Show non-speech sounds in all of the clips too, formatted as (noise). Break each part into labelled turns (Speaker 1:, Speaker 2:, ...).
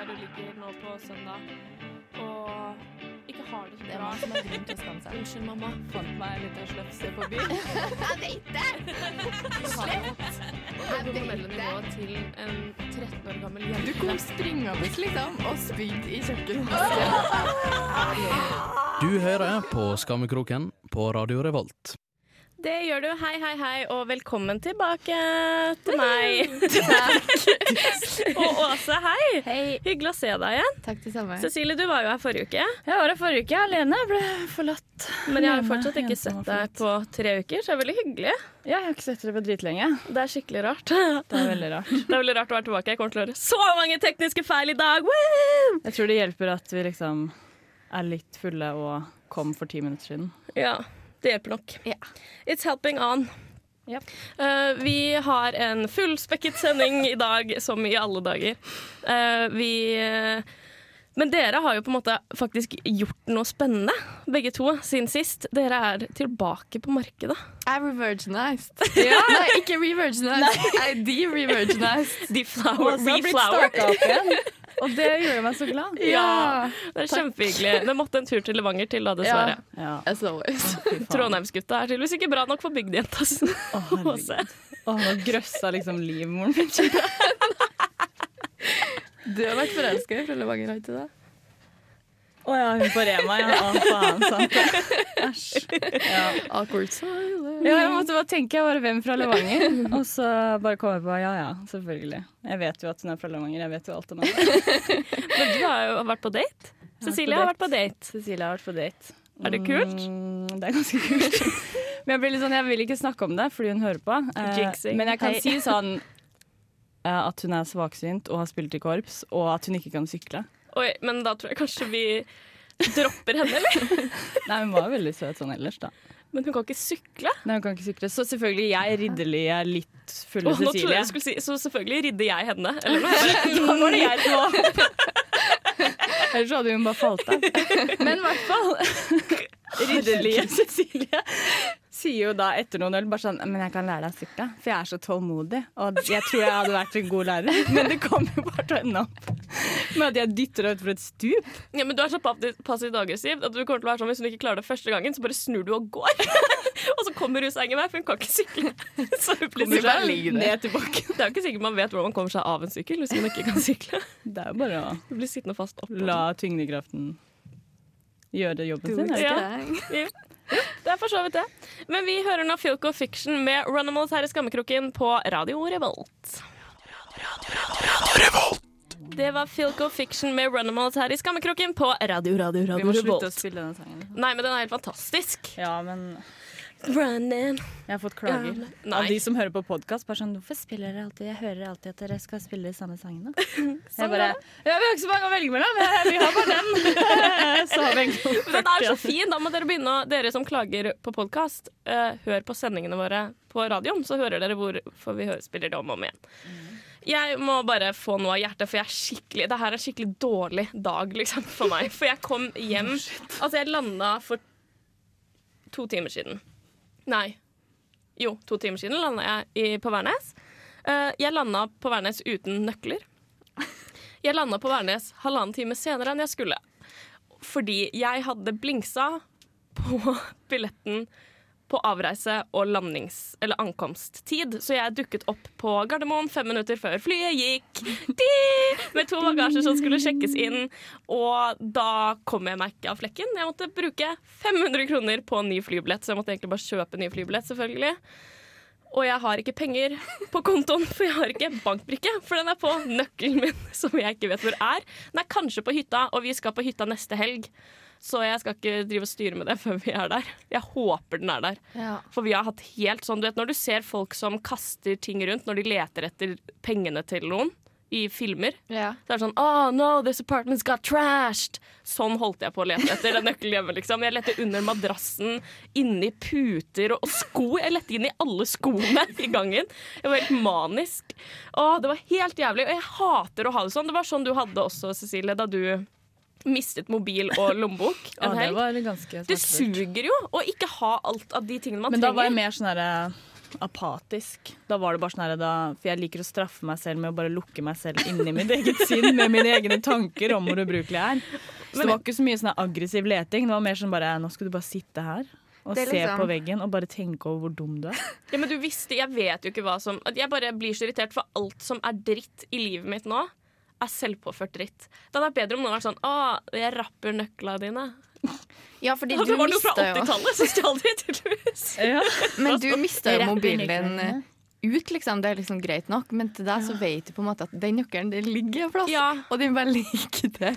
Speaker 1: nå på søndag og ikke har det så
Speaker 2: Det er
Speaker 1: bra.
Speaker 2: mange som har grunn til å skamme seg.
Speaker 1: Unnskyld, mamma. Fant meg en liten slefse
Speaker 2: (laughs)
Speaker 1: på byen.
Speaker 2: Jeg vet det! Slett!
Speaker 1: Det
Speaker 2: Jeg vet
Speaker 1: hormonelle
Speaker 2: det.
Speaker 1: nivået til en 13 år gammel jente.
Speaker 3: Du kom springende liksom, og spydde i kjøkkenvasken.
Speaker 4: Du hører på Skammekroken på Radio Revolt.
Speaker 1: Det gjør du. Hei, hei, hei, og velkommen tilbake til meg.
Speaker 5: (laughs)
Speaker 1: og Åse, hei.
Speaker 5: Hei.
Speaker 1: Hyggelig å se deg igjen.
Speaker 3: Takk, det samme.
Speaker 1: Cecilie, du var jo her forrige uke,
Speaker 5: Jeg var her forrige uke alene. Jeg ble forlatt.
Speaker 1: men jeg har
Speaker 5: Alene,
Speaker 1: jo fortsatt ikke
Speaker 5: ensom
Speaker 1: sett
Speaker 5: og
Speaker 1: deg på tre uker, så det er veldig hyggelig.
Speaker 5: Ja, jeg har ikke sett dere på dritlenge.
Speaker 1: Det er skikkelig rart. (laughs)
Speaker 5: Det er veldig rart.
Speaker 1: Det er veldig rart å være tilbake. Jeg kommer til å gjøre så mange tekniske feil i dag! Woo!
Speaker 5: (laughs) Jeg tror det hjelper at vi liksom er litt fulle og kom for ti minutter siden.
Speaker 1: Ja, det hjelper nok.
Speaker 3: Ja.
Speaker 1: It's helping on.
Speaker 5: Yep.
Speaker 1: Eh, vi har en fullspekket sending i dag, som i alle dager. Eh, vi eh, Men dere har jo på en måte faktisk gjort noe spennende, begge to, siden sist. Dere er tilbake på markedet.
Speaker 3: Jeg
Speaker 1: (laughs)
Speaker 3: revirginized. Nei, ikke revirginized. Jeg er de-revirginized.
Speaker 1: Deflower,
Speaker 5: Åsa har blitt starka opp igjen, (laughs) og det gjorde meg så glad.
Speaker 1: Ja. Det er kjempehyggelig. Det måtte en tur til Levanger til, da, dessverre.
Speaker 5: Ja,
Speaker 3: As always.
Speaker 5: fy faen.
Speaker 1: Trondheimsgutta er tydeligvis ikke bra nok for bygdejenta sin.
Speaker 5: Å, herregud.
Speaker 1: Åse.
Speaker 5: Å, nå grøssa liksom livmoren min.
Speaker 3: Du har vært forelska i fra Levanger, har du ikke det?
Speaker 5: Å ja, hun på Rema, ja. Å, faen, sant det. Æsj. Ja.
Speaker 3: Awkward silence.
Speaker 5: Ja, jeg måtte bare tenke jeg var hvem fra Levanger. Og så bare kom jeg på ja ja, selvfølgelig. Jeg vet jo at hun er fra Levanger. Jeg vet jo alt om henne.
Speaker 1: Men (laughs) du har jo vært på date. Cecilie har vært på date.
Speaker 5: Cecilie har vært på date.
Speaker 1: Er det kult?
Speaker 5: Mm, det er ganske
Speaker 1: (laughs)
Speaker 5: kult. Men jeg blir litt sånn, jeg vil ikke snakke om det fordi hun hører på. Eh,
Speaker 1: Jinxing.
Speaker 5: men jeg kan
Speaker 1: Hei.
Speaker 5: si sånn eh, at hun er svaksynt og har spilt i korps, og at hun ikke kan sykle.
Speaker 1: Oi, men da tror jeg kanskje vi dropper henne, eller? (laughs)
Speaker 5: Nei, hun var veldig søt sånn ellers, da.
Speaker 1: Men hun kan ikke sykle.
Speaker 5: Nei, hun kan ikke sykle. Så selvfølgelig, jeg ridderlige, litt
Speaker 1: Å,
Speaker 5: fulle
Speaker 1: nå trodde
Speaker 5: Cecilie.
Speaker 1: jeg du skulle si Så selvfølgelig ridder jeg henne. Eller noe.
Speaker 5: Da var det jeg som var Ellers hadde hun bare falt av. Men i hvert fall Ridderlige Cecilie sier jo da etter noen øl bare sånn Men jeg kan lære deg å sykle, for jeg er så tålmodig. Og jeg tror jeg hadde vært en god lærer, (laughs) men det kommer jo bare til å ende opp med at jeg dytter henne utfor et stup.
Speaker 1: Ja, men du er så passiv- passivt aggressiv at du kommer til å være sånn hvis hun ikke klarer det første gangen, så bare snur du og går. (laughs) og så kommer hun seg ingen vei, for hun kan ikke sykle. (laughs) Så hun
Speaker 3: Kommer
Speaker 1: plutselig
Speaker 3: seg ligger der.
Speaker 5: sånn, Ned til bakken.
Speaker 1: Det er jo ikke sikkert man vet hvordan man kommer seg av en sykkel hvis man ikke kan sykle.
Speaker 5: Det er jo bare å
Speaker 1: Du blir sittende fast oppå.
Speaker 5: la tyngdekraften gjøre jobben sin. er det ikke?
Speaker 1: Ja. Det er for så vidt det. Men vi hører nå Filco Fiction med Runimals her i Skammekroken på Radio Revolt. Det var Filco Fiction med Runimals her i Skammekroken på Radio Radio
Speaker 5: Vi
Speaker 1: Radio
Speaker 5: må slutte å
Speaker 1: Revolt.
Speaker 5: spille denne sangen.
Speaker 1: Nei, men den er helt fantastisk.
Speaker 5: Ja, men
Speaker 1: Running.
Speaker 5: jeg har fått klager
Speaker 1: Nei.
Speaker 5: av de som hører på podkast. Bare sånn
Speaker 2: Hvorfor spiller dere alltid Jeg hører alltid at dere skal spille de samme sangene.
Speaker 5: Jeg bare, ja, Vi har ikke så mange å velge mellom. Vi har bare den. Så har vi (laughs) egentlig
Speaker 1: Den er så fin! Da må dere begynne å Dere som klager på podkast, eh, hør på sendingene våre på radioen, så hører dere hvorfor vi hører, spiller det om og om igjen. Jeg må bare få noe av hjertet, for jeg er skikkelig det her er en skikkelig dårlig dag liksom, for meg. For jeg kom hjem Altså, jeg landa for to timer siden. Nei. Jo, to timer siden landa jeg i, på Værnes. Eh, jeg landa på Værnes uten nøkler. Jeg landa på Værnes halvannen time senere enn jeg skulle fordi jeg hadde blingsa på (laughs) billetten på avreise og landings- eller ankomsttid, så jeg dukket opp på Gardermoen fem minutter før flyet gikk, Di! med to bagasjer som skulle sjekkes inn, og da kom jeg meg ikke av flekken. Jeg måtte bruke 500 kroner på en ny flybillett, så jeg måtte egentlig bare kjøpe en ny flybillett, selvfølgelig. Og jeg har ikke penger på kontoen, for jeg har ikke bankbrikke. For den er på nøkkelen min, som jeg ikke vet hvor er. Den er kanskje på hytta, og vi skal på hytta neste helg. Så jeg skal ikke drive og styre med det før vi er der. Jeg håper den er der.
Speaker 3: Ja.
Speaker 1: For vi har hatt helt sånn, du vet når du ser folk som kaster ting rundt når de leter etter pengene til noen i filmer.
Speaker 3: Ja.
Speaker 1: Så er det sånn Oh no, this apartment's got trashed. Sånn holdt jeg på å lete etter en nøkkel hjemme, liksom. Jeg lette under madrassen, inni puter og og sko. Jeg lette inn i alle skoene i gangen. Jeg var helt manisk. Å, det var helt jævlig. Og jeg hater å ha det sånn. Det var sånn du hadde også, Cecilie, da du mistet mobil og lommebok en helg.
Speaker 5: ganske
Speaker 1: Det suger jo å ikke ha alt av de tingene man
Speaker 5: Men da var jeg
Speaker 1: trenger.
Speaker 5: mer sånn herre apatisk. Da var det bare sånn her, da, For jeg liker å straffe meg selv med å bare lukke meg selv inni mitt eget sinn med mine egne tanker om hvor ubrukelig jeg er. Så det var ikke så mye sånn her aggressiv leting. Det var mer sånn bare Nå skal du bare sitte her og
Speaker 6: Det er
Speaker 5: se
Speaker 6: liksom-
Speaker 5: på veggen og bare tenke over hvor dum du er.
Speaker 1: Ja, men du visste, jeg vet jo ikke hva som at Jeg bare blir så irritert, for alt som er dritt i livet mitt nå, er selvpåført dritt. Det hadde vært bedre om noen var sånn Å, jeg rapper nøkla dine.
Speaker 6: Ja, fordi
Speaker 1: Og
Speaker 6: du
Speaker 1: (laughs) det var noe fra
Speaker 6: mista jo
Speaker 1: 80-tallet som stjal de, tydeligvis.
Speaker 5: Ja.
Speaker 6: Men du mista jo
Speaker 2: Rapper
Speaker 6: mobilen
Speaker 2: nøklene
Speaker 6: din eh, ut, liksom. Det er liksom greit nok, men til deg så vet du på en måte at den nøkkelen den ligger en plass,
Speaker 1: Ja.
Speaker 6: og den bare ligger der.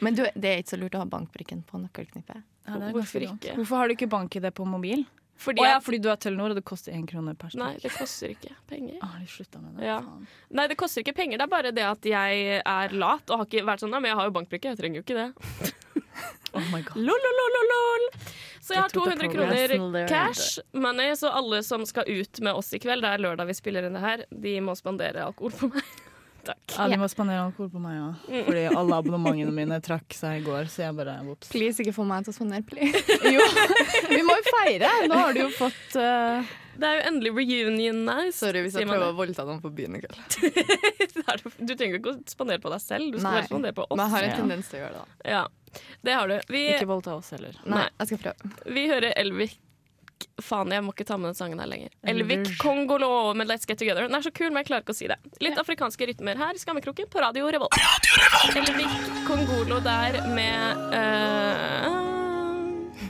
Speaker 6: Men du, det er ikke så lurt å ha bankbrikken på nøkkelknippet.
Speaker 1: Hvorfor ikke?
Speaker 5: Hvorfor har du ikke bank i det på mobil?
Speaker 1: Fordi
Speaker 5: Å ja,
Speaker 1: jeg,
Speaker 5: fordi du har Telenor, og det koster én krone per
Speaker 1: Nei,
Speaker 5: stikk.
Speaker 1: det koster ikke penger.
Speaker 5: Ah, de slutta med det.
Speaker 1: Ja.
Speaker 5: faen.
Speaker 1: Nei, det koster ikke penger. Det er bare det at jeg er lat og har ikke vært sånn Nei, men jeg har jo bankbrikke, jeg trenger jo ikke det.
Speaker 5: Oh my god.
Speaker 1: Lol, lol, lol, lol, lol. Så jeg har
Speaker 5: Get to the
Speaker 1: 200
Speaker 5: program.
Speaker 2: Lesson
Speaker 1: kroner
Speaker 2: learned.
Speaker 1: cash, money, så alle som skal ut med oss i kveld, det er lørdag vi spiller inn det her, de må spandere alkohol på meg. Takk.
Speaker 5: Ja, de må spandere alkohol på meg òg,
Speaker 1: Mm.
Speaker 5: fordi alle abonnementene mine trakk seg i går. Så jeg bare vops.
Speaker 6: Please, ikke få meg til å spandere, (laughs) please.
Speaker 5: Jo, vi må jo feire! Nå har du jo fått eh,
Speaker 1: Det er jo endelig reunion night.
Speaker 6: Sorry hvis jeg
Speaker 1: sier man
Speaker 6: prøver å voldta noen på byen i kveld.
Speaker 1: (laughs) det. Det er jo- Du trenger ikke å spandere på deg selv, du skal
Speaker 6: Nei.
Speaker 1: bare spandere på
Speaker 6: Men jeg
Speaker 1: oss.
Speaker 6: har en
Speaker 5: Ja.
Speaker 6: tendens til å gjøre det, da.
Speaker 1: Ja, det har du. Vi,
Speaker 5: Ikke voldta oss heller.
Speaker 6: Nei,
Speaker 1: Nei.
Speaker 6: jeg skal prøve.
Speaker 1: vi hører Elvik Faen, jeg må ikke ta med den sangen her lenger. Elvik
Speaker 5: Elvik.
Speaker 1: Kongolo med Let's Get Together. Den er så kul, men jeg klarer ikke å si det. Litt afrikanske rytmer her, Skammekroken på Radio Revolt. Elvik Kongolo der med eh,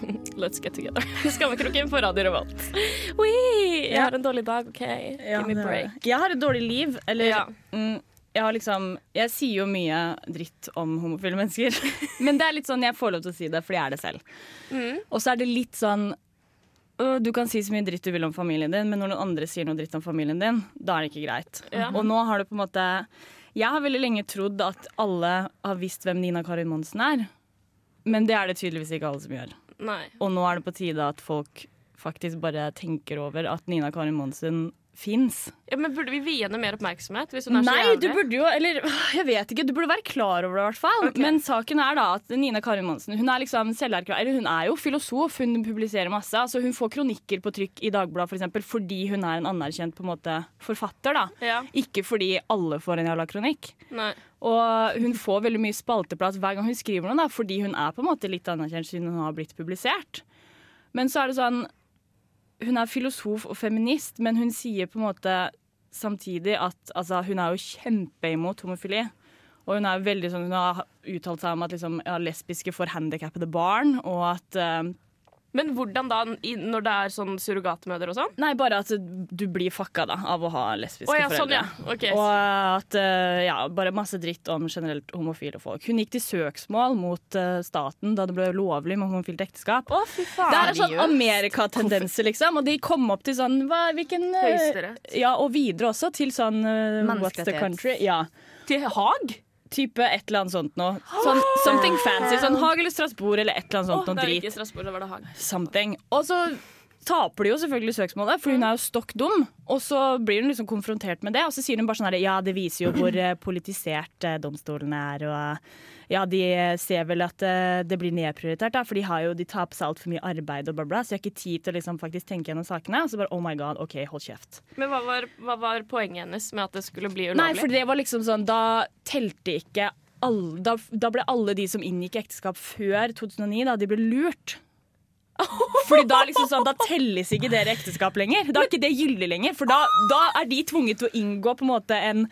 Speaker 1: (laughs) Let's Get Together. (laughs) Skammekroken på Radio Revolt. Wee! Jeg
Speaker 5: Ja.
Speaker 1: har en dårlig dag, OK? Give me a break.
Speaker 5: Jeg har et dårlig liv, eller
Speaker 1: Ja.
Speaker 5: mm, jeg har liksom Jeg sier jo mye dritt om homofile mennesker, (laughs) men det er litt sånn jeg får lov til å si det, fordi jeg er det selv.
Speaker 1: Mm.
Speaker 5: Og så er det litt sånn «Åh, du kan si så mye dritt du vil om familien din, men når noen andre sier noe dritt om familien din, da er det ikke greit.
Speaker 1: Ja.
Speaker 5: Og nå har det på en måte Jeg har veldig lenge trodd at alle har visst hvem Nina Karin Monsen er, men det er det tydeligvis ikke alle som gjør.
Speaker 1: Nei.
Speaker 5: Og nå er det på tide at folk faktisk bare tenker over at Nina Karin Monsen fins.
Speaker 1: Ja, men burde vi vie henne mer oppmerksomhet? Hvis hun er så
Speaker 5: Nei, du
Speaker 1: jævlig?
Speaker 5: burde jo Eller (laughs) jeg vet ikke, du burde være klar over det i hvert fall. Men saken er da at Nina Karin Monsen Hun er liksom selverklært Eller hun er jo filosof, hun publiserer masse. Altså hun får kronikker på trykk i Dagbladet for eksempel, fordi hun er en anerkjent på en måte forfatter. da
Speaker 1: Ja,
Speaker 5: Ikke fordi alle får en jævla kronikk.
Speaker 1: nei.
Speaker 5: Og hun får veldig mye spalteplass hver gang hun skriver noe, da, fordi hun er på en måte litt anerkjent siden hun har blitt publisert. Men så er det sånn Hun er filosof og feminist, men hun sier på en måte samtidig at altså, hun er jo kjempeimot homofili. Og hun er jo veldig sånn, hun har uttalt seg om at liksom, ja, lesbiske får handikappede barn, og at eh,
Speaker 1: Men hvordan da, i- når det er sånn surrogatmødre og sånn?
Speaker 5: Nei, bare at du blir fucka da, av å ha lesbiske
Speaker 1: Å ja,
Speaker 5: foreldre.
Speaker 1: sånn ja. Ok.
Speaker 5: Og at eh, ja, bare masse dritt om generelt homofile folk. Hun gikk til søksmål mot eh, staten da det ble lovlig med homofilt ekteskap.
Speaker 1: Å, fy faen.
Speaker 5: det er sånn Amerikatendenser, liksom. Og de kom opp til sånn hva, hvilken, eh,
Speaker 1: Høyesterett.
Speaker 5: Ja, og videre også til sånn eh, What's the
Speaker 6: Menneskerettighets-
Speaker 5: country? Ja.
Speaker 1: Til Haag?
Speaker 5: Type et eller annet sånt noe. Sånn, something fancy. Sånn Haag eller Strasbourg eller et eller annet
Speaker 1: Å,
Speaker 5: sånt
Speaker 1: det
Speaker 5: noe
Speaker 1: er
Speaker 5: drit
Speaker 1: ikke Strasbourg, det var det Haag.
Speaker 5: something. Og så taper de jo selvfølgelig søksmålet, for hun er jo stokk dum. Og så blir hun liksom konfrontert med det, og så sier hun bare sånn her Ja, det viser jo hvor eh, politisert eh, domstolene er, og eh, ja, de ser vel at eh, det blir nedprioritert, da, for de har jo De tar på seg altfor mye arbeid og bla, bla, så jeg har ikke tid til å liksom faktisk tenke gjennom sakene. Og så bare oh my god, OK, hold kjeft.
Speaker 1: Men hva var, hva var poenget hennes med at det skulle bli
Speaker 5: Nei,
Speaker 1: ulovlig?
Speaker 5: for det var liksom sånn Da telte ikke alle Da, da ble alle de som inngikk ekteskap før 2009, da de ble
Speaker 1: (laughs)
Speaker 5: lurt. Fordi da liksom sånn, da telles ikke dere ekteskap lenger. Da er ikke det gyldig lenger. For da, da er de tvunget til å inngå på en måte en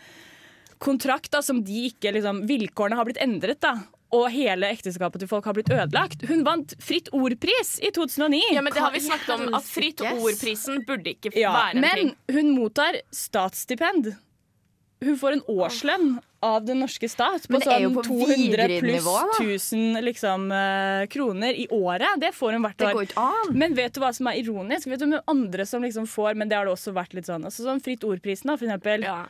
Speaker 5: kontrakt da, som de ikke liksom, Vilkårene har blitt endret, da. Og hele ekteskapet til folk har blitt ødelagt. Hun vant Fritt Ord-pris i 2009.
Speaker 1: ja, men det har vi
Speaker 6: Hva i
Speaker 1: snakket om, at
Speaker 6: helsike?
Speaker 1: Fritt Ord-prisen burde ikke
Speaker 5: Ja,
Speaker 1: være en
Speaker 5: men
Speaker 1: ting.
Speaker 5: hun mottar statsstipend. Hun får en årslønn av den norske stat på
Speaker 6: Men det er jo
Speaker 5: sånn
Speaker 6: på
Speaker 5: 200 pluss
Speaker 6: Vigrid-nivå, da.
Speaker 5: 1000 liksom, eh, kroner i året. Det får hun hvert
Speaker 6: Det
Speaker 5: år.
Speaker 6: går ikke an.
Speaker 5: Men vet du hva som er ironisk? Vet du hvem andre som liksom får, men det har det også vært litt sånn altså, Sånn Fritt Ordprisen, da, for eksempel.
Speaker 1: Ja.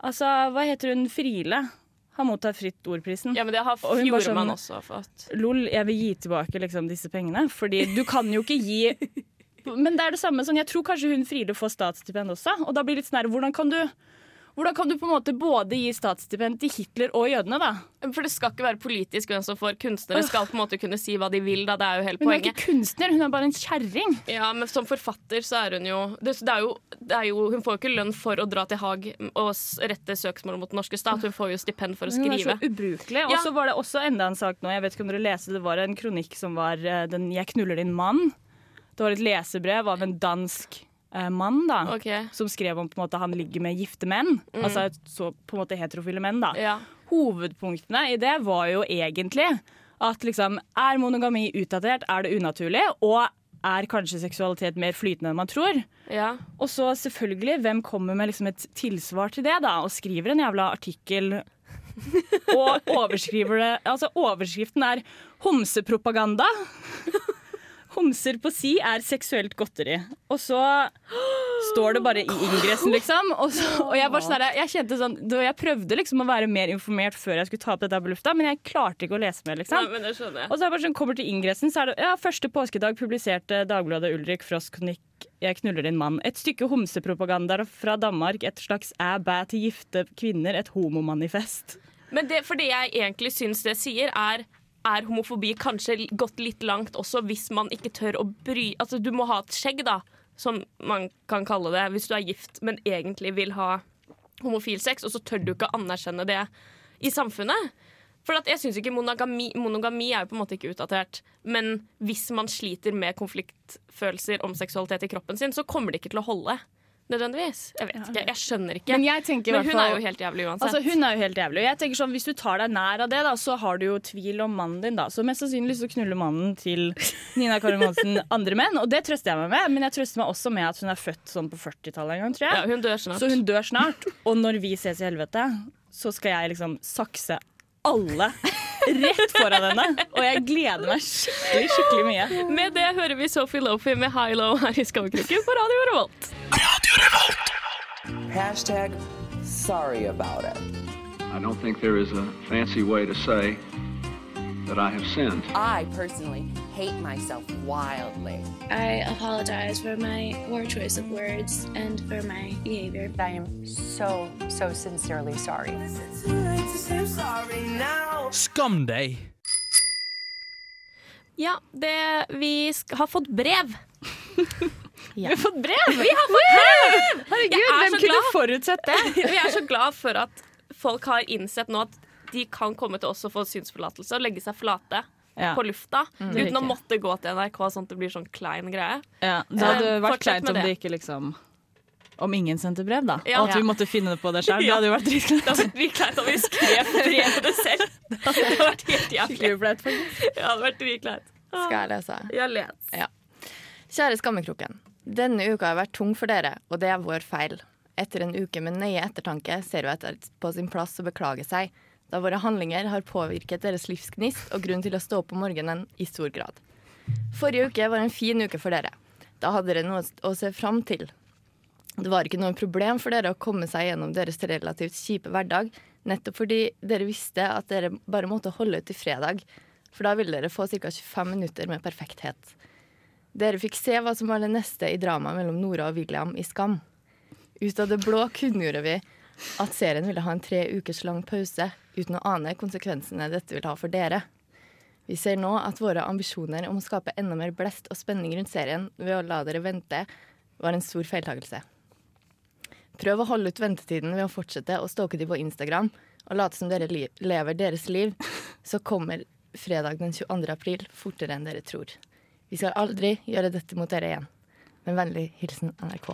Speaker 5: Altså, hva heter hun? Friele har mottatt Fritt Ordprisen.
Speaker 1: ja, men det har
Speaker 5: Og hun bare
Speaker 1: Fjordmann
Speaker 5: sånn-
Speaker 1: også fått.
Speaker 5: Lol, jeg vil gi tilbake liksom, disse pengene, fordi du kan jo ikke (laughs) gi Men det er det samme sånn, jeg tror kanskje hun Friele får statsstipend også, og da blir det litt sånn her, hvordan kan du Hvordan kan du på en måte både gi statsstipend til Hitler og jødene, da?
Speaker 1: For det skal ikke være politisk hvem som får. Kunstnere skal på en måte kunne si hva de vil, da. Det er jo hele
Speaker 5: Hun er
Speaker 1: poenget.
Speaker 5: ikke kunstner, hun er bare en kjerring.
Speaker 1: Ja, men som forfatter så er hun jo det, det er jo, det er jo Hun får jo ikke lønn for å dra til Haag og s- rette søksmål mot den norske stat. Hun får jo stipend for å
Speaker 5: Hun er så
Speaker 1: skrive. Ja.
Speaker 5: ubrukelig. Og så var det også enda en sak nå, jeg vet ikke om dere leste, det var en kronikk som var eh, den 'Jeg knuller din mann'. Det var et lesebrev av en dansk eh, mann, da.
Speaker 1: Ok,
Speaker 5: Som skrev om på en måte han ligger med gifte menn, altså så på en måte heterofile menn. da.
Speaker 1: ja.
Speaker 5: Hovedpunktene i det var jo egentlig at liksom Er monogami utdatert? Er det unaturlig? Og er kanskje seksualitet mer flytende enn man tror?
Speaker 1: ja.
Speaker 5: Og så selvfølgelig, hvem kommer med liksom et tilsvar til det, da? Og skriver en jævla artikkel. Og overskriver det Altså, overskriften er 'Homsepropaganda'. Homser på si er seksuelt godteri. Og så står det bare i ingressen, liksom. Og, så, og jeg, bare sånn her, jeg kjente sånn da Jeg prøvde liksom å være mer informert før jeg skulle ta opp dette her på lufta, men jeg klarte ikke å lese mer, liksom.
Speaker 1: Nei, men det skjønner jeg.
Speaker 5: Og så er det bare sånn, kommer til ingressen, så er det ja, første påskedag publiserte Dagbladet Ulrik Frosk kronikk 'Jeg knuller din mann'. Et stykke homsepropaganda fra Danmark, et slags æ-bæ til gifte kvinner, et homomanifest.
Speaker 1: Men det, for det jeg egentlig syns det sier, er er homofobi kanskje l- gått litt langt også hvis man ikke tør å bry Altså, du må ha et skjegg, da, som man kan kalle det, hvis du er gift, men egentlig vil ha homofil sex, og så tør du ikke å anerkjenne det i samfunnet. For at jeg synes ikke monogami, monogami er jo på en måte ikke utdatert. Men hvis man sliter med konfliktfølelser om seksualitet i kroppen sin, så kommer det ikke til å holde. Nødvendigvis. Jeg vet ikke. Jeg skjønner ikke.
Speaker 5: Men jeg tenker i
Speaker 1: Men
Speaker 5: hvert
Speaker 1: hun er
Speaker 5: fall-
Speaker 1: jo helt jævlig uansett.
Speaker 5: Altså, hun er jo helt jævlig. Og jeg tenker sånn, Hvis du tar deg nær av det, da, så har du jo tvil om mannen din. da. Så mest sannsynlig så knuller mannen til Nina Karin Monsen andre menn, og det trøster jeg meg med. Men jeg trøster meg også med at hun er født sånn på 40-tallet en gang, tror jeg.
Speaker 1: ja, hun dør snart.
Speaker 5: Så hun dør snart, og når vi ses i helvete, så skal jeg liksom sakse alle rett foran henne. Og jeg gleder meg skikkelig, skikkelig mye.
Speaker 1: Med det hører vi Sophie Lofi med High Low her i Skammekroken på Radio Revolt.
Speaker 7: Hashtag sorry about it.
Speaker 8: I don't think there is a fancy way to say that I have sinned.
Speaker 7: I personally hate myself wildly.
Speaker 9: I apologize for my poor choice of words and for my behavior.
Speaker 10: I am so, so sincerely sorry.
Speaker 4: Skam deg!
Speaker 1: Ja, det, vi sk har fått brev.
Speaker 5: Vi har fått brev! Vi har fått brev! Herregud,
Speaker 1: Jeg er
Speaker 5: hvem
Speaker 1: så
Speaker 5: kunne
Speaker 1: glad.
Speaker 5: forutsett det?
Speaker 1: Og jeg er så glad for at folk har innsett nå at de kan komme til oss og få synsforlatelse og legge seg flate
Speaker 5: Ja. Mm.
Speaker 1: på lufta
Speaker 5: Det er
Speaker 1: uten å
Speaker 5: riktig.
Speaker 1: måtte gå til NRK sånn at det blir sånn klein greie.
Speaker 5: Ja, det hadde
Speaker 1: Ja,
Speaker 5: vært
Speaker 1: fortsett
Speaker 5: kleint
Speaker 1: med
Speaker 5: om det
Speaker 1: det.
Speaker 5: ikke liksom Om ingen sendte brev, da.
Speaker 1: Ja.
Speaker 5: Og at vi måtte finne det på det sjøl. Det hadde jo vært
Speaker 1: Det hadde
Speaker 5: dritkleint.
Speaker 1: vært dritkleint om vi skrev brevet
Speaker 5: (laughs)
Speaker 1: selv. Det hadde vært helt jævlig.
Speaker 5: Skikkelig flaut, faktisk.
Speaker 1: Det hadde vært dritkleint.
Speaker 6: Skal jeg lese?
Speaker 1: Jeg let.
Speaker 6: Kjære Skammekroken. Denne uka har vært tung for dere, og det er vår feil. Etter en uke med nøye ettertanke ser hun etter på sin plass å beklage seg, da våre handlinger har påvirket deres livsgnist og grunn til å stå opp om morgenen i stor grad. Forrige uke var en fin uke for dere. Da hadde dere noe å se fram til. Det var ikke noe problem for dere å komme seg gjennom deres relativt kjipe hverdag, nettopp fordi dere visste at dere bare måtte holde ut til fredag, for da ville dere få ca. 25 minutter med perfekthet. Dere fikk se hva som var det neste i dramaet mellom Nora og William i Skam. Ut av det blå kunngjorde vi at serien ville ha en tre ukers lang pause, uten å ane konsekvensene dette vil ha for dere. Vi ser nå at våre ambisjoner om å skape enda mer blest og spenning rundt serien ved å la dere vente, var en stor feiltagelse. Prøv å holde ut ventetiden ved å fortsette å stalke de på Instagram og late som dere li lever deres liv, så kommer fredag den 22. april fortere enn dere tror. Vi skal aldri gjøre dette mot dere igjen. Med vennlig hilsen NRK.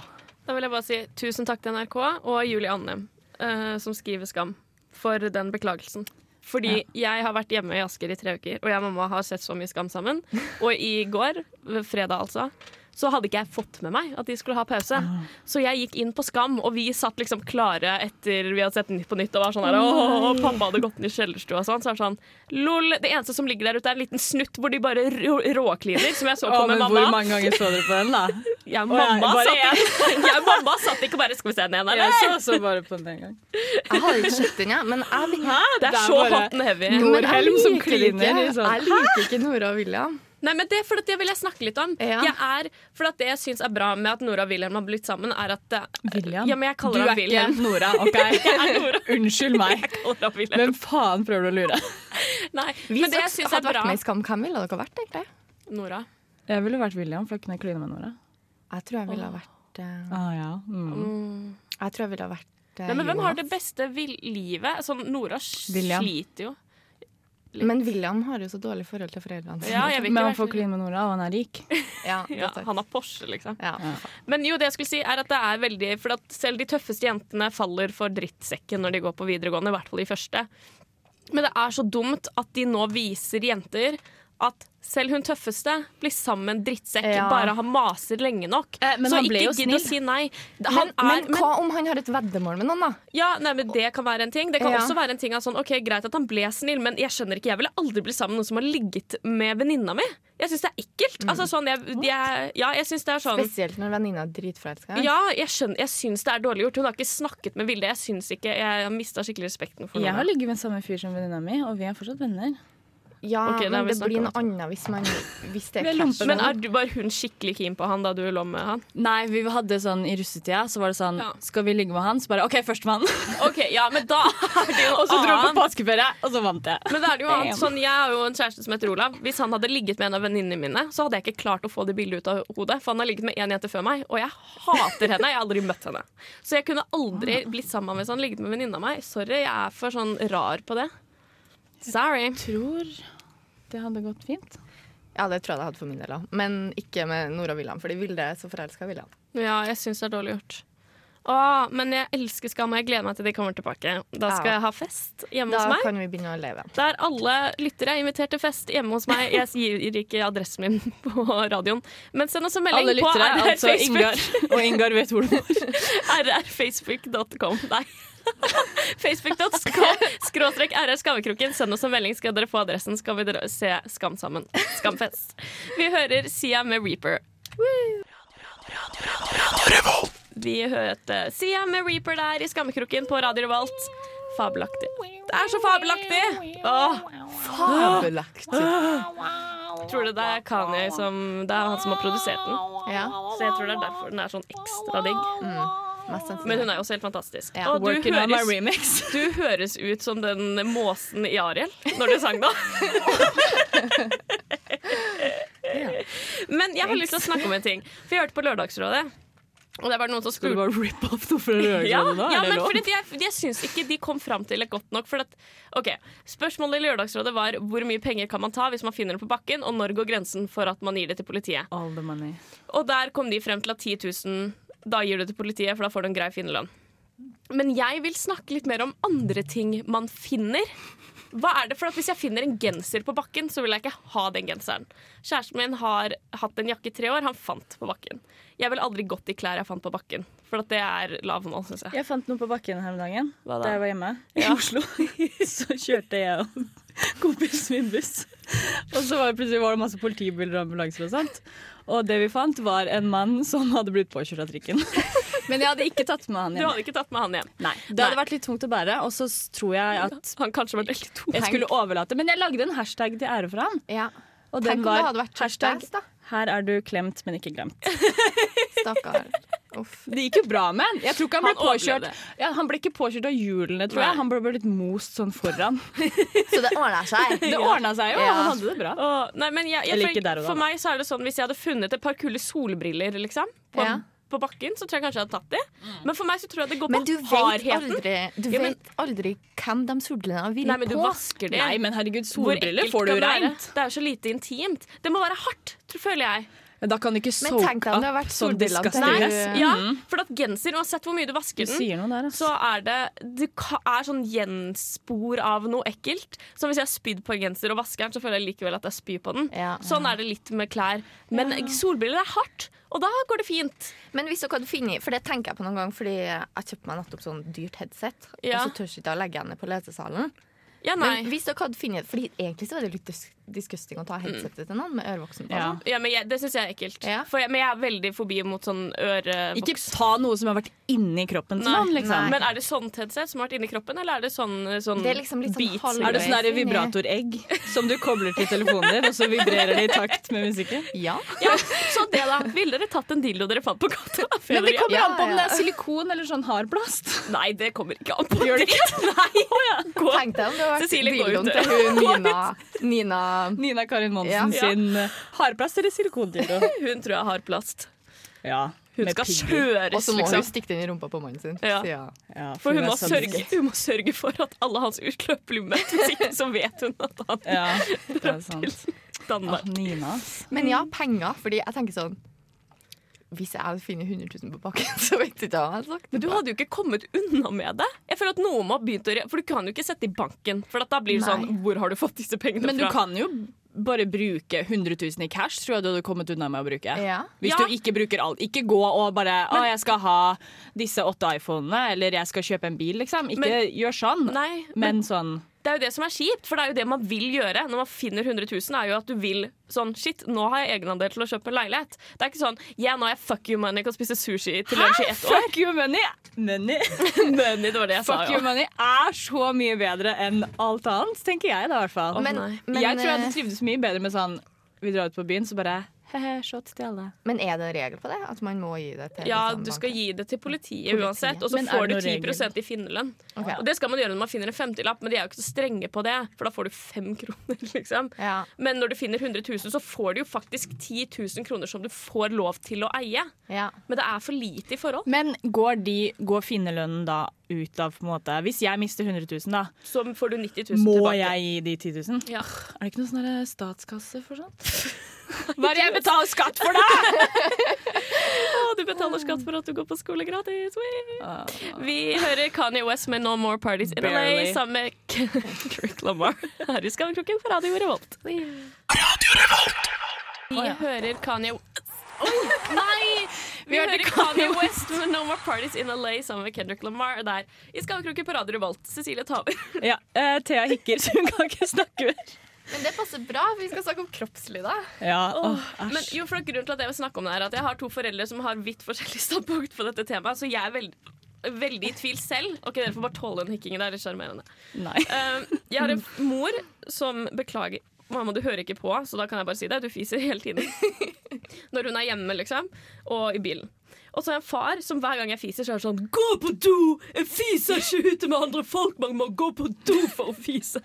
Speaker 1: Da vil jeg bare si tusen takk til NRK og Julie Annem, eh, som skriver Skam, for den beklagelsen. Fordi jeg har vært hjemme i Asker i tre uker, og jeg og mamma har sett så mye Skam sammen.
Speaker 5: (laughs)
Speaker 1: Og i går, ved fredag altså, så hadde ikke jeg fått med meg at de skulle ha pause.
Speaker 5: Ah.
Speaker 1: Så jeg gikk inn på Skam, og vi satt liksom klare etter vi hadde sett Nytt på Nytt og var sånn her Åh, pappa hadde gått ned i kjellerstua og sånn. Så er det sånn Lol. Det eneste som ligger der ute, er en liten snutt hvor de bare rå- råkliner, som jeg så på
Speaker 5: Å,
Speaker 1: med
Speaker 5: men
Speaker 1: mamma.
Speaker 5: hvor mange ganger så dere på den,
Speaker 1: (laughs)
Speaker 5: da?
Speaker 1: Jeg og
Speaker 5: Å, ja,
Speaker 1: mamma,
Speaker 5: bare
Speaker 1: satt, ikke, (laughs) jeg og mamma satt ikke bare Skal vi se den igjen,
Speaker 5: Jeg
Speaker 1: eller?
Speaker 5: så, så bare på den en gang.
Speaker 6: Jeg har ikke sett den, jeg, men jeg,
Speaker 1: Ah, Det er
Speaker 5: Det er
Speaker 1: så
Speaker 5: bare-
Speaker 1: hot and heavy.
Speaker 6: men jeg
Speaker 5: Norhelm som
Speaker 6: liker
Speaker 5: kliner i
Speaker 6: ikke,
Speaker 5: sånn.
Speaker 6: jeg liker ikke Nora og William.
Speaker 1: Nei, men det, for at det vil jeg snakke litt om.
Speaker 6: Ja.
Speaker 1: Jeg er, for at Det jeg syns er bra med at Nora og Wilhelm har blitt sammen, er at det-
Speaker 5: William?
Speaker 1: Ja, men jeg
Speaker 5: Du
Speaker 1: kaller
Speaker 5: er
Speaker 1: ham
Speaker 5: ikke
Speaker 1: Wilhelm.
Speaker 5: Nora,
Speaker 1: (laughs)
Speaker 5: OK?
Speaker 1: Jeg er Nora.
Speaker 5: Unnskyld
Speaker 1: (laughs)
Speaker 5: meg.
Speaker 1: Jeg kaller ham
Speaker 3: (laughs)
Speaker 1: Wilhelm.
Speaker 5: Hvem faen prøver du å lure?
Speaker 1: Nei,
Speaker 6: Vi
Speaker 1: men det jeg
Speaker 6: som
Speaker 1: syns er
Speaker 6: hadde vært
Speaker 1: bra
Speaker 6: med i Skam, hvem ville dere vært, egentlig?
Speaker 1: Nora.
Speaker 5: Jeg ville vært William, for da kunne jeg kline med Nora.
Speaker 6: Jeg tror jeg ville ha vært eh,
Speaker 5: Ah, ja. mm.
Speaker 6: Jeg tror jeg ville ha vært eh,
Speaker 1: Nei, men hvem
Speaker 6: Jonas.
Speaker 1: har det beste vil livet? Sånn, Nora s-
Speaker 5: William.
Speaker 1: sliter jo.
Speaker 6: Men William har jo så dårlig forhold til foreldrene sine.
Speaker 1: Ja, jeg vil ikke
Speaker 5: Men han
Speaker 1: være
Speaker 5: får
Speaker 1: så-
Speaker 5: kline med Nora, og han er rik.
Speaker 6: Ja,
Speaker 1: ja,
Speaker 6: godt sagt.
Speaker 1: Han har Porsche, liksom.
Speaker 6: ja.
Speaker 1: Men jo, det jeg skulle si er at det er veldig For at selv de tøffeste jentene faller for drittsekken når de går på videregående, i hvert fall de første. Men det er så dumt at de nå viser jenter at selv hun tøffeste blir sammen med en drittsekk,
Speaker 6: Ja.
Speaker 1: bare han maser lenge nok.
Speaker 5: Eh, men
Speaker 1: så
Speaker 5: han ble
Speaker 1: ikke
Speaker 5: jo
Speaker 1: gidd å
Speaker 5: snill.
Speaker 1: si nei.
Speaker 6: Men,
Speaker 1: Han er,
Speaker 6: men hva om han har et veddemål med noen, da?
Speaker 1: Ja, nei, men Det kan være en ting. Det kan
Speaker 6: Ja.
Speaker 1: også være en ting av sånn, ok, Greit at han ble snill, men jeg skjønner ikke, jeg ville aldri blitt sammen med noen som har ligget med venninna mi. Jeg syns det er
Speaker 5: Mm.
Speaker 1: ekkelt. Altså sånn, jeg, jeg, ja, jeg synes det er sånn
Speaker 6: Spesielt når venninna er dritforelska.
Speaker 1: ja, jeg, skjønner, jeg syns det er dårlig gjort. Hun har ikke snakket med Vilde. Jeg syns ikke, jeg har mista skikkelig respekten for
Speaker 5: Jeg har
Speaker 1: henne.
Speaker 5: ligget med samme fyr som venninna mi, og vi er fortsatt venner.
Speaker 6: Ja,
Speaker 1: Ok, da har vi
Speaker 6: men det
Speaker 1: snakket
Speaker 6: blir
Speaker 1: om
Speaker 6: noe annet hvis, man, hvis det
Speaker 5: Vi
Speaker 6: er
Speaker 5: er
Speaker 6: clash.
Speaker 5: lumpen.
Speaker 1: Men er du, var hun skikkelig keen på han da du lå med han?
Speaker 3: Nei, vi hadde sånn i russetida, så var det sånn
Speaker 1: Ja.
Speaker 3: Skal vi ligge med han? Så bare OK,
Speaker 5: (laughs)
Speaker 3: førstemann.
Speaker 1: Ok, ja, Men da er det (laughs) jo
Speaker 5: Og så dro jeg på
Speaker 1: annet.
Speaker 5: påskeferie, og så vant jeg.
Speaker 1: Men da er det jo annet.
Speaker 5: Damn.
Speaker 1: Sånn, jeg har jo en kjæreste som heter Olav. Hvis han hadde ligget med en av venninnene mine, så hadde jeg ikke klart å få det bildet ut av hodet. For han har ligget med én jente før meg, og jeg hater henne. Jeg har aldri møtt henne. Så jeg kunne aldri blitt sammen med hvis han hadde ligget med venninna mi. Sorry, jeg er for sånn rar på det. Sorry.
Speaker 5: Tror det hadde gått fint.
Speaker 6: Ja, det tror jeg det hadde for min del òg. Men ikke med Nora William, fordi Vilde er så forelska i William.
Speaker 1: Ja, jeg syns det er dårlig gjort. Åh, men jeg elsker Skam, og jeg gleder meg til de kommer tilbake. Da skal
Speaker 6: Ja.
Speaker 1: jeg ha fest hjemme
Speaker 6: Da
Speaker 1: hos meg.
Speaker 6: kan vi begynne å leve.
Speaker 1: Der alle lyttere er invitert til fest hjemme hos meg. Jeg gir ikke adressen min (laughs) på radioen. Men send oss en melding
Speaker 3: Alle lyttere,
Speaker 1: (laughs) på
Speaker 3: altså Ingar.
Speaker 6: (laughs)
Speaker 3: Og Ingar vet hvor du bor.
Speaker 1: rrfacebook.com. Nei. (laughs) Facebook.com skråstrek rr skammekroken. Send oss en melding, skal dere få adressen. Skal vi dra- se Skam sammen. Skamfest. Vi hører Sia med Reaper. Vi hørte Sia med Reaper der i skammekroken på Radio Revolt. Fabelaktig. Det er så fabelaktig! Åh,
Speaker 6: Fabelaktig.
Speaker 1: tror du det er Kanye som Det er han som har produsert den.
Speaker 6: Ja,
Speaker 1: Så jeg tror det er derfor den er sånn ekstra digg.
Speaker 6: mest sannsynlig.
Speaker 1: Men hun er jo også helt fantastisk.
Speaker 6: Ja.
Speaker 1: Og du
Speaker 3: Working on my
Speaker 1: høres
Speaker 3: remix.
Speaker 1: (laughs) Du høres ut som den måsen i Ariel når du sang da. Men jeg har lyst til å snakke om en ting. For jeg hørte på Lørdagsrådet. Og det var noen som
Speaker 3: Skal du
Speaker 1: spurte
Speaker 3: bare rip off noe fra Rørleggerrådet
Speaker 1: ja,
Speaker 3: da?
Speaker 1: ja,
Speaker 3: Er det
Speaker 1: men
Speaker 3: lov?
Speaker 1: fordi at jeg, jeg syns ikke de kom fram til det godt nok. For at, ok, Spørsmålet i Lørdagsrådet var hvor mye penger kan man ta hvis man finner det på bakken, og når går grensen for at man gir det til politiet.
Speaker 5: All the money.
Speaker 1: Og der kom de frem til at 10 000 da gir du til politiet, for da får du en grei finnerlønn. Men jeg vil snakke litt mer om andre ting man finner. Hva er det for at Hvis jeg finner en genser på bakken, så vil jeg ikke ha den genseren. Kjæresten min har hatt en jakke i tre år. Han fant på bakken. Jeg ville aldri gått i klær jeg fant på bakken, for at det er lav nå, syns jeg.
Speaker 5: Jeg fant noe på bakken her om dagen
Speaker 1: Hva da?
Speaker 5: da jeg var hjemme i
Speaker 1: Ja.
Speaker 5: Oslo. (laughs) Så kjørte jeg og (laughs) kompisen min buss. Og så var det plutselig var det masse politibiler og ambulanser og sånt. Og det vi fant, var en mann som hadde blitt påkjørt av trikken. (laughs) Men jeg hadde ikke tatt med han
Speaker 1: Du
Speaker 5: hjem.
Speaker 1: hadde ikke tatt med han hjem.
Speaker 5: Nei, det hadde vært litt tungt å bære, og så tror jeg at
Speaker 1: Han kanskje var veldig to.
Speaker 5: jeg skulle overlate. Men jeg lagde en hashtag til ære for han.
Speaker 6: Ja.
Speaker 5: Og
Speaker 6: Tenk
Speaker 5: den
Speaker 6: om det
Speaker 5: var
Speaker 6: hadde vært
Speaker 5: hashtag
Speaker 6: hashtag, da.
Speaker 5: 'her er du klemt, men ikke glemt'.
Speaker 6: Stakkar. Uff.
Speaker 5: (laughs) Det gikk jo bra med han. Jeg tror ikke han ble
Speaker 1: Han
Speaker 5: påkjørt
Speaker 1: overlevde.
Speaker 5: ja, Han ble ikke påkjørt av hjulene, tror
Speaker 1: Nei.
Speaker 5: jeg. Han ble bare litt most sånn foran.
Speaker 6: Så (laughs) det ordner seg.
Speaker 5: (laughs) Det ordna seg jo,
Speaker 6: Ja.
Speaker 5: han hadde det bra.
Speaker 1: Åh, nei, men jeg, jeg,
Speaker 5: Eller ikke der
Speaker 1: for,
Speaker 5: og da,
Speaker 1: for
Speaker 5: da.
Speaker 1: meg så er det sånn hvis jeg hadde funnet et par kule solbriller liksom, på,
Speaker 6: Ja. Mm.
Speaker 1: på bakken, så tror jeg kanskje jeg hadde tatt de. Men for meg så tror jeg det går
Speaker 6: Men du
Speaker 1: på
Speaker 6: vet
Speaker 1: hardheten.
Speaker 6: aldri, du
Speaker 1: Ja, men-
Speaker 6: vet aldri hvem de solbrillene vil
Speaker 1: Nei, men du
Speaker 6: på.
Speaker 1: vasker det.
Speaker 5: Nei, men herregud,
Speaker 1: Hvor
Speaker 5: solbriller
Speaker 1: ekkelt
Speaker 5: får du
Speaker 1: kan det være?
Speaker 5: reint.
Speaker 1: Det er jo så lite intimt. Det må være hardt, tror, føler jeg.
Speaker 5: Men da kan du ikke
Speaker 6: Men tenk deg om det har vært solbrillene til
Speaker 5: disgusting
Speaker 6: Nei.
Speaker 5: dress.
Speaker 6: Eh,
Speaker 1: Ja, for at genser, uansett hvor mye du vasker den,
Speaker 5: noe der, altså.
Speaker 1: så er det Det ka- er sånn gjenspor av noe ekkelt. Så hvis jeg har spydd på en genser og vasker den, så føler jeg likevel at jeg spyr på den.
Speaker 6: Ja.
Speaker 1: Sånn er det litt med klær. Men solbriller er hardt, og da går det fint.
Speaker 6: Men hvis dere hadde funnet For det tenker jeg på noen gang, fordi jeg kjøpte meg nettopp sånn dyrt headset,
Speaker 1: Ja.
Speaker 6: og så tør jeg ikke å legge henne på lesesalen.
Speaker 1: Ja, nei.
Speaker 6: Men hvis dere hadde funnet Fordi egentlig så var det litt dis- disgusting å ta headsetet til noen med ørevoksen på.
Speaker 5: Ja.
Speaker 6: sånn.
Speaker 1: Ja, men jeg, Det syns jeg er ekkelt.
Speaker 6: Ja.
Speaker 1: For jeg, men jeg er veldig forbi mot sånn ørevoks.
Speaker 5: Ikke ta noe som har vært inni kroppen til noen, liksom.
Speaker 1: Men er det sånt headset som har vært inni kroppen, eller er det sånn, sånn
Speaker 6: Det er liksom litt sånn
Speaker 1: beats?
Speaker 6: halvveis
Speaker 5: Er det sånn der
Speaker 6: inn i-
Speaker 5: vibratoregg som du kobler til telefonen din, og så vibrerer det i takt med musikken?
Speaker 6: Ja.
Speaker 1: (laughs) Ja, så det da. Ville dere tatt en dildo dere fant på gata? Før
Speaker 5: Men det
Speaker 1: dere-
Speaker 5: kommer
Speaker 6: Ja,
Speaker 5: an på om
Speaker 6: ja.
Speaker 5: det er silikon eller sånn hardplast.
Speaker 1: Nei, det kommer ikke an på. Gjør det ikke? (laughs) Nei. Gå.
Speaker 6: Tenk deg om det hadde vært
Speaker 1: Cecilie, gå
Speaker 6: dildoen
Speaker 1: ut.
Speaker 6: til hun Nina, Nina
Speaker 5: (laughs) Nina Karin
Speaker 6: Ja.
Speaker 5: Monsen sin eh, hardplast eller (laughs) silikondildo.
Speaker 1: Hun tror jeg har plast.
Speaker 5: Ja,
Speaker 1: Hun
Speaker 5: med
Speaker 1: skal
Speaker 5: pigger.
Speaker 1: kjøres,
Speaker 6: Og så må hun
Speaker 1: liksom.
Speaker 6: stikke den i rumpa på mannen sin.
Speaker 1: Ja.
Speaker 6: Så ja.
Speaker 5: Ja,
Speaker 1: For hun
Speaker 5: er
Speaker 1: må,
Speaker 5: sadist.
Speaker 1: sørge, hun må sørge for at alle hans utløp blir møtt. Hvis ikke så vet hun at han
Speaker 5: Ja, det er sant.
Speaker 1: danner.
Speaker 5: Åh, Nina, altså. ass.
Speaker 6: Men ja, penger. Fordi jeg tenker sånn Hvis jeg hadde funnet 100 000 på bakken, (laughs) så vet du ikke hva jeg hadde sagt.
Speaker 1: Men du hadde jo ikke kommet unna med det. Jeg føler at noen må ha begynt å re- For du kan jo ikke sette i banken. For at da blir det
Speaker 6: Nei.
Speaker 1: sånn Hvor har du fått disse pengene
Speaker 5: Men du
Speaker 1: fra?
Speaker 5: kan jo bare bruke 100 000 i cash, tror jeg du hadde kommet unna med å bruke.
Speaker 6: Ja.
Speaker 5: Hvis
Speaker 1: Ja.
Speaker 5: du ikke bruker alt. Ikke gå og bare 'Å, jeg skal ha disse åtte iPhonene', eller 'jeg skal kjøpe en bil', liksom. Ikke
Speaker 1: Men-
Speaker 5: gjør sånn,
Speaker 1: Nei, men
Speaker 5: men sånn.
Speaker 1: det er jo det som er kjipt, for det er jo det man vil gjøre når man finner 100 000, er jo at du vil sånn Shit, nå har jeg egenandel til å kjøpe en leilighet. Det er ikke sånn Yeah, nå har jeg fuck you money, jeg kan spise sushi til lunsj i ett år.
Speaker 5: (laughs) Fuck you money! Money.
Speaker 1: Money, det var det jeg sa,
Speaker 5: Fuck you
Speaker 1: ja.
Speaker 5: money er så mye bedre enn alt annet, tenker jeg da, i hvert fall.
Speaker 6: Men,
Speaker 1: nei.
Speaker 6: men,
Speaker 5: jeg tror jeg
Speaker 6: eh,
Speaker 5: hadde trivdes mye bedre med sånn Vi drar ut på byen, så bare he-he, shots til alle.
Speaker 6: men er det en regel på det? At man må gi det til
Speaker 1: Ja,
Speaker 5: sånn
Speaker 6: liksom
Speaker 1: du skal
Speaker 6: banken?
Speaker 1: gi det til politiet uansett, og så
Speaker 5: Men er
Speaker 1: får du
Speaker 5: det noen
Speaker 1: 10 i finnerlønn.
Speaker 6: Ok.
Speaker 1: Og det skal man gjøre når man finner en femtilapp, men de er jo ikke så strenge på det, for da får du fem (laughs) kroner, liksom.
Speaker 6: ja.
Speaker 1: Men når du finner 100 000, så får du jo faktisk 10 000 kroner som du får lov til å eie.
Speaker 6: ja.
Speaker 1: Men det er for lite i forhold.
Speaker 5: Men går, de, går finnerlønnen da ut av på en måte Hvis jeg mister 100 000, da,
Speaker 1: Så får du 90 000
Speaker 5: må
Speaker 1: tilbake.
Speaker 5: jeg gi de 10 000?
Speaker 1: Ja.
Speaker 5: Er det ikke noe sånn der statskasse for sånn? sånt? Hva er det jeg betaler skatt for, da?!
Speaker 1: (laughs) Å, du betaler skatt for at du går på skole gratis! Wee! Vi hører Kanye West med No More Parties in LA
Speaker 5: Ah. Barely.
Speaker 1: sammen med Kirk Lamar her i Skammekroken på Radio Revolt. Vi hører Kanye West Oi, nei! Vi, hører Kanye West med No More Parties in LA sammen med Kendrick Lamar der i Skammekroken på Radio Revolt. Cecilie tar over.
Speaker 5: Ja, eh, Thea hikker, så hun kan ikke snakke mer.
Speaker 6: Men det passer bra. Vi skal snakke om kroppslig, da.
Speaker 5: Ja, åh,
Speaker 1: Men
Speaker 5: æsj.
Speaker 1: jo, for grunnen til at jeg vil snakke om det er at jeg har to foreldre som har vidt forskjellig (laughs) standpunkt på dette temaet, så jeg er veld veldig i tvil selv. Ok, Dere får bare tåle den hikkingen. Det er litt sjarmerende.
Speaker 5: Nei.
Speaker 1: Eh, jeg har en f- mor som beklager Mamma, du hører ikke på, så da kan jeg bare si det. Du fiser hele tiden. Når hun er hjemme, liksom. Og i bilen. Og så har jeg en far som hver gang jeg fiser, så er det sånn Gå på do! Jeg fiser ikke ute med andre folk! Man må gå på do for å fise.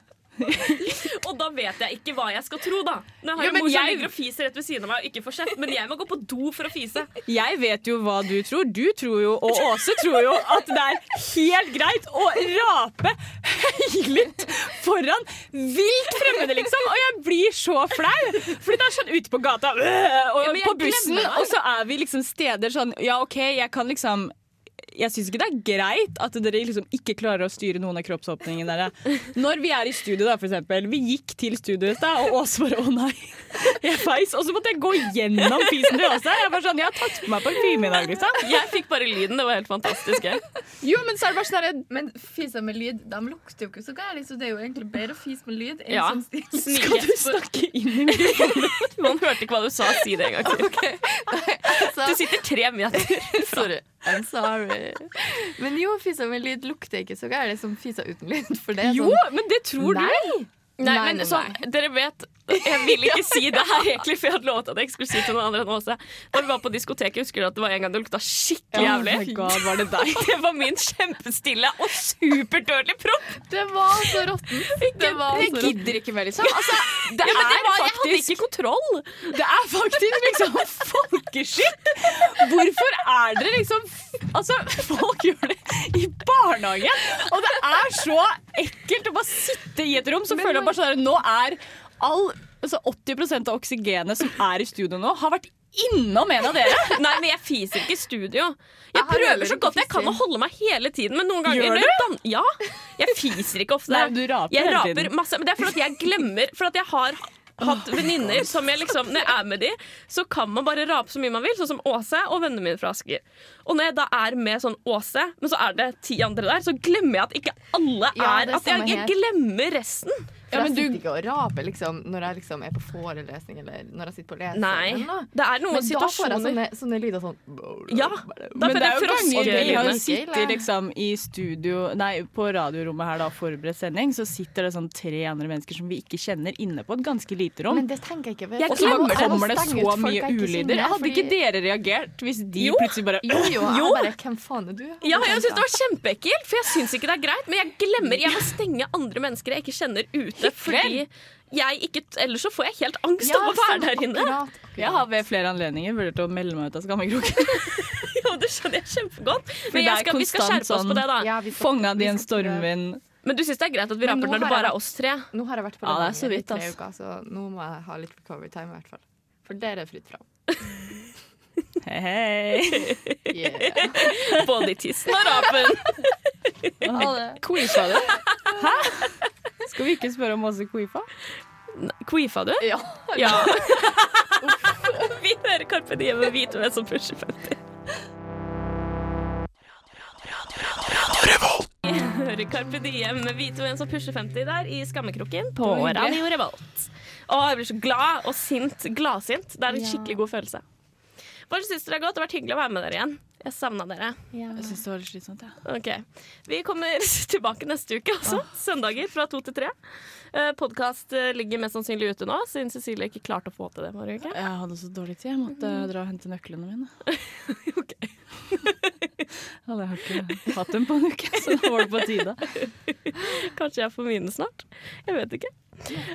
Speaker 1: og da vet jeg ikke hva jeg skal tro, da. Når jeg har
Speaker 5: Jo,
Speaker 1: en
Speaker 5: men
Speaker 1: mor som
Speaker 5: jeg-
Speaker 1: ligger og fiser rett ved siden av meg og ikke får sett, men jeg må gå på do for å fise.
Speaker 5: Jeg vet jo hva du tror. Du tror jo, og Åse tror jo, at det er helt greit å rape høylytt foran vilt fremmede, liksom. Og jeg blir så flau! Fordi det er sånn ute på gata øh, og
Speaker 1: Ja, men jeg
Speaker 5: på bussen,
Speaker 1: glemmer meg.
Speaker 5: og så er vi liksom steder sånn Ja, OK, jeg kan liksom jeg syns ikke det er greit at dere liksom ikke klarer å styre noen av kroppsåpningene deres. Når vi er i studio, da, for eksempel. Vi gikk til studio i stad, og Åse bare 'Å nei, jeg feis'. Og så måtte jeg gå gjennom fisen til Åse. Jeg bare sånn, jeg har tatt på meg parfyme i dag, liksom.
Speaker 1: Jeg fikk bare lyden. Det var helt fantastisk. Jeg.
Speaker 6: Jo, men så er det bare sånn her, Men fiser med lyd, de lukter jo ikke så gærent, så det er jo egentlig bedre å fise med lyd enn
Speaker 1: Ja.
Speaker 6: sånn
Speaker 1: (laughs)
Speaker 6: stil.
Speaker 5: Skal du snakke inn i mikrofonen?
Speaker 1: Man hørte ikke hva du sa. Si det en (laughs) gang til.
Speaker 6: Så,
Speaker 1: Du sitter tre meter.
Speaker 6: sorry. I'm sorry. Men jo, fiser med lyd lukter ikke så gærent som fiser uten lyd, for det er
Speaker 5: Jo,
Speaker 6: sånn
Speaker 5: men det tror du.
Speaker 6: Nei!
Speaker 1: (laughs) Nei, men sånn, dere vet Jeg vil
Speaker 5: (laughs)
Speaker 1: ikke si det her egentlig, for jeg hadde lovet at jeg ikke skulle si det til noen andre enn Åse. Da vi var på diskoteket, husker du at det var en gang det lukta skikkelig
Speaker 5: Oh
Speaker 1: jævlig?
Speaker 5: my god, var det deg?
Speaker 1: (laughs) Det var min kjempestille og superdårlig propp.
Speaker 6: Det var så (laughs) råttent. Det var så råttent.
Speaker 5: gidder ikke mer, liksom. Altså, det
Speaker 1: Ja, men det var,
Speaker 5: er
Speaker 1: jeg hadde
Speaker 5: faktisk
Speaker 1: ikke kontroll.
Speaker 5: Det er faktisk liksom folkeskitt! Hvorfor er dere liksom Altså, folk gjør det i barnehage, og det er så ekkelt å bare sitte i et rom så føler jeg bare sånn at Nå er all Altså 80 av oksygenet som er i studio nå, har vært innom en av dere!
Speaker 1: Nei, men jeg fiser ikke i studio. Jeg
Speaker 6: har heller
Speaker 1: prøver så
Speaker 6: ikke
Speaker 1: godt jeg
Speaker 6: fising.
Speaker 1: kan å holde meg hele tiden, men noen ganger
Speaker 5: Gjør
Speaker 1: når jeg dan- Ja. Jeg fiser ikke ofte.
Speaker 5: Nei, du raper
Speaker 1: jeg
Speaker 5: hele
Speaker 1: raper
Speaker 5: tiden.
Speaker 1: masse, men det er fordi at jeg glemmer For at jeg har hatt venninner som jeg liksom Når jeg er med de, så kan man bare rape så mye man vil, sånn som Åse og vennene mine fra Asker. Og når jeg da er med sånn Åse, men så er det ti andre der, så glemmer jeg at ikke alle
Speaker 6: Ja,
Speaker 1: er,
Speaker 6: det er
Speaker 1: At jeg,
Speaker 6: samme
Speaker 1: jeg
Speaker 6: her.
Speaker 1: glemmer resten.
Speaker 6: For
Speaker 3: Ja, men
Speaker 6: jeg sitter
Speaker 3: du-
Speaker 6: ikke og raper liksom, når jeg liksom, er på forelesning eller når jeg sitter på leseren.
Speaker 1: Nei.
Speaker 6: Da.
Speaker 1: Det er noen
Speaker 6: Men da får jeg
Speaker 1: situasjoner
Speaker 6: sånne, sånne lyder sånn
Speaker 1: Ja, da
Speaker 5: Men
Speaker 1: får jeg
Speaker 5: det er jo ganger
Speaker 6: frosker
Speaker 5: vi har
Speaker 6: inne.
Speaker 5: jo
Speaker 1: froskelydene.
Speaker 5: sittet liksom i studio Nei, på radiorommet her da, forberedt sending, så sitter det sånn tre andre mennesker som vi ikke kjenner, inne på et ganske lite rom.
Speaker 6: Men det tenker jeg ikke ved.
Speaker 5: Jeg
Speaker 6: Og så
Speaker 5: glemmer det.
Speaker 6: av å
Speaker 5: Kommer det
Speaker 6: stenge
Speaker 5: så
Speaker 6: ut folk
Speaker 5: mye
Speaker 6: jeg ikke
Speaker 5: ulyder?
Speaker 6: kjenner,
Speaker 5: Hadde ikke
Speaker 6: fordi-
Speaker 5: dere reagert hvis de
Speaker 1: Jo.
Speaker 5: plutselig bare
Speaker 6: Jo, jo. jeg
Speaker 1: Jo.
Speaker 6: Bare, Hvem faen er du?
Speaker 1: Ja, jeg syns det var kjempeekkelt, for jeg syns ikke det er greit. Men jeg glemmer. Jeg må stenge andre mennesker jeg ikke kjenner ute, fordi jeg ikke Ellers så får jeg helt angst av å være
Speaker 6: sånn,
Speaker 1: der inne. (laughs)
Speaker 6: akkurat, akkurat.
Speaker 5: Jeg har ved flere anledninger vurdert å melde meg ut av skammekroken.
Speaker 1: Jo, det skjønner jeg kjempegodt.
Speaker 5: det
Speaker 1: Men
Speaker 5: er
Speaker 1: jeg skal, vi skal
Speaker 5: konstant
Speaker 1: skjerpe oss
Speaker 5: sånn-
Speaker 1: på det, da.
Speaker 6: Ja, vi skal-
Speaker 5: Fanga
Speaker 6: vi
Speaker 5: di en
Speaker 6: skal prøve.
Speaker 5: stormvind.
Speaker 1: Men du syns det er greit at vi
Speaker 6: Men
Speaker 1: raper
Speaker 6: nå
Speaker 1: når det
Speaker 6: har jeg
Speaker 1: bare
Speaker 6: vært-
Speaker 1: er oss tre?
Speaker 6: Nå har jeg vært på
Speaker 5: Ja, det er
Speaker 6: den
Speaker 5: så
Speaker 6: linjen i
Speaker 5: vidt,
Speaker 6: tre
Speaker 5: ass.
Speaker 6: uker, så nå må jeg ha litt recovery time i hvert fall. For dere er fritt fram.
Speaker 1: (laughs)
Speaker 5: Hei, hei.
Speaker 6: Yeah.
Speaker 1: Både i tissen og rapen.
Speaker 5: Queefa du? Hæ? Skal vi ikke spørre om masse queefa?
Speaker 1: Queefa du?
Speaker 6: ja.
Speaker 1: (laughs) Ja. vi hører Carpe Diem og Hvite menn som pusher 50. Vi hører Carpe Diem med Hvite menn som pusher 50 der i skammekroken på Radio Revolt. Å, jeg blir så glad og sint. Gladsint. Det er en skikkelig god følelse. Bare syns dere det er godt. Det har vært hyggelig å være med dere igjen. Jeg savna dere.
Speaker 5: Jeg syns det var litt slitsomt, jeg.
Speaker 1: Ok. Vi kommer (laughs) tilbake neste uke, altså. Søndager fra to til tre. Eh, Podkast eh, ligger mest sannsynlig ute nå, siden Cecilie ikke klarte å få til det forrige uke.
Speaker 5: Jeg hadde så dårlig tid. Jeg måtte dra og hente nøklene (laughs) mine. (laughs)
Speaker 1: Ok.
Speaker 5: Hadde jeg ikke hatt dem på en uke, så da var det på tide.
Speaker 1: Kanskje jeg får mine snart. Jeg vet ikke.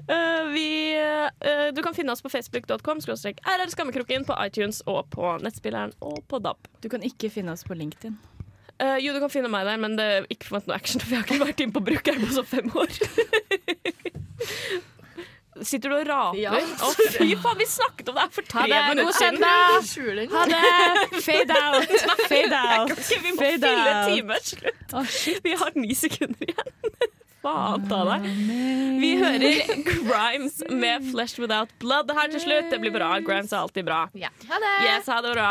Speaker 1: Eh, vi, eh, du kan finne oss på facebook.com skråstrek RR Skammekroken på iTunes og på nettspilleren og på DAB.
Speaker 5: Du kan ikke finne oss på LinkedIn.
Speaker 1: Eh, jo, du kan finne meg der, men det er ikke forvent noe action, (laughs) for jeg har ikke vært inne på brukeren på så fem år. Sitter du og raper?
Speaker 6: Ja.
Speaker 1: Å, fy faen, vi snakket om det her for tre minutter siden!
Speaker 6: Skjul den.
Speaker 5: Ha det! Fade out!
Speaker 1: (laughs)
Speaker 5: Fade out!
Speaker 1: Ok, vi må
Speaker 5: Fade
Speaker 1: fylle
Speaker 5: out.
Speaker 1: timen slutt.
Speaker 5: Å, shit.
Speaker 1: Vi har ni sekunder igjen. (laughs) Faen ta deg. Vi hører Grimes med 'Flesh Without Blood' her til slutt. Det blir bra. Grimes er alltid bra.
Speaker 6: Ja. Ha det!
Speaker 1: Yes, ha det bra.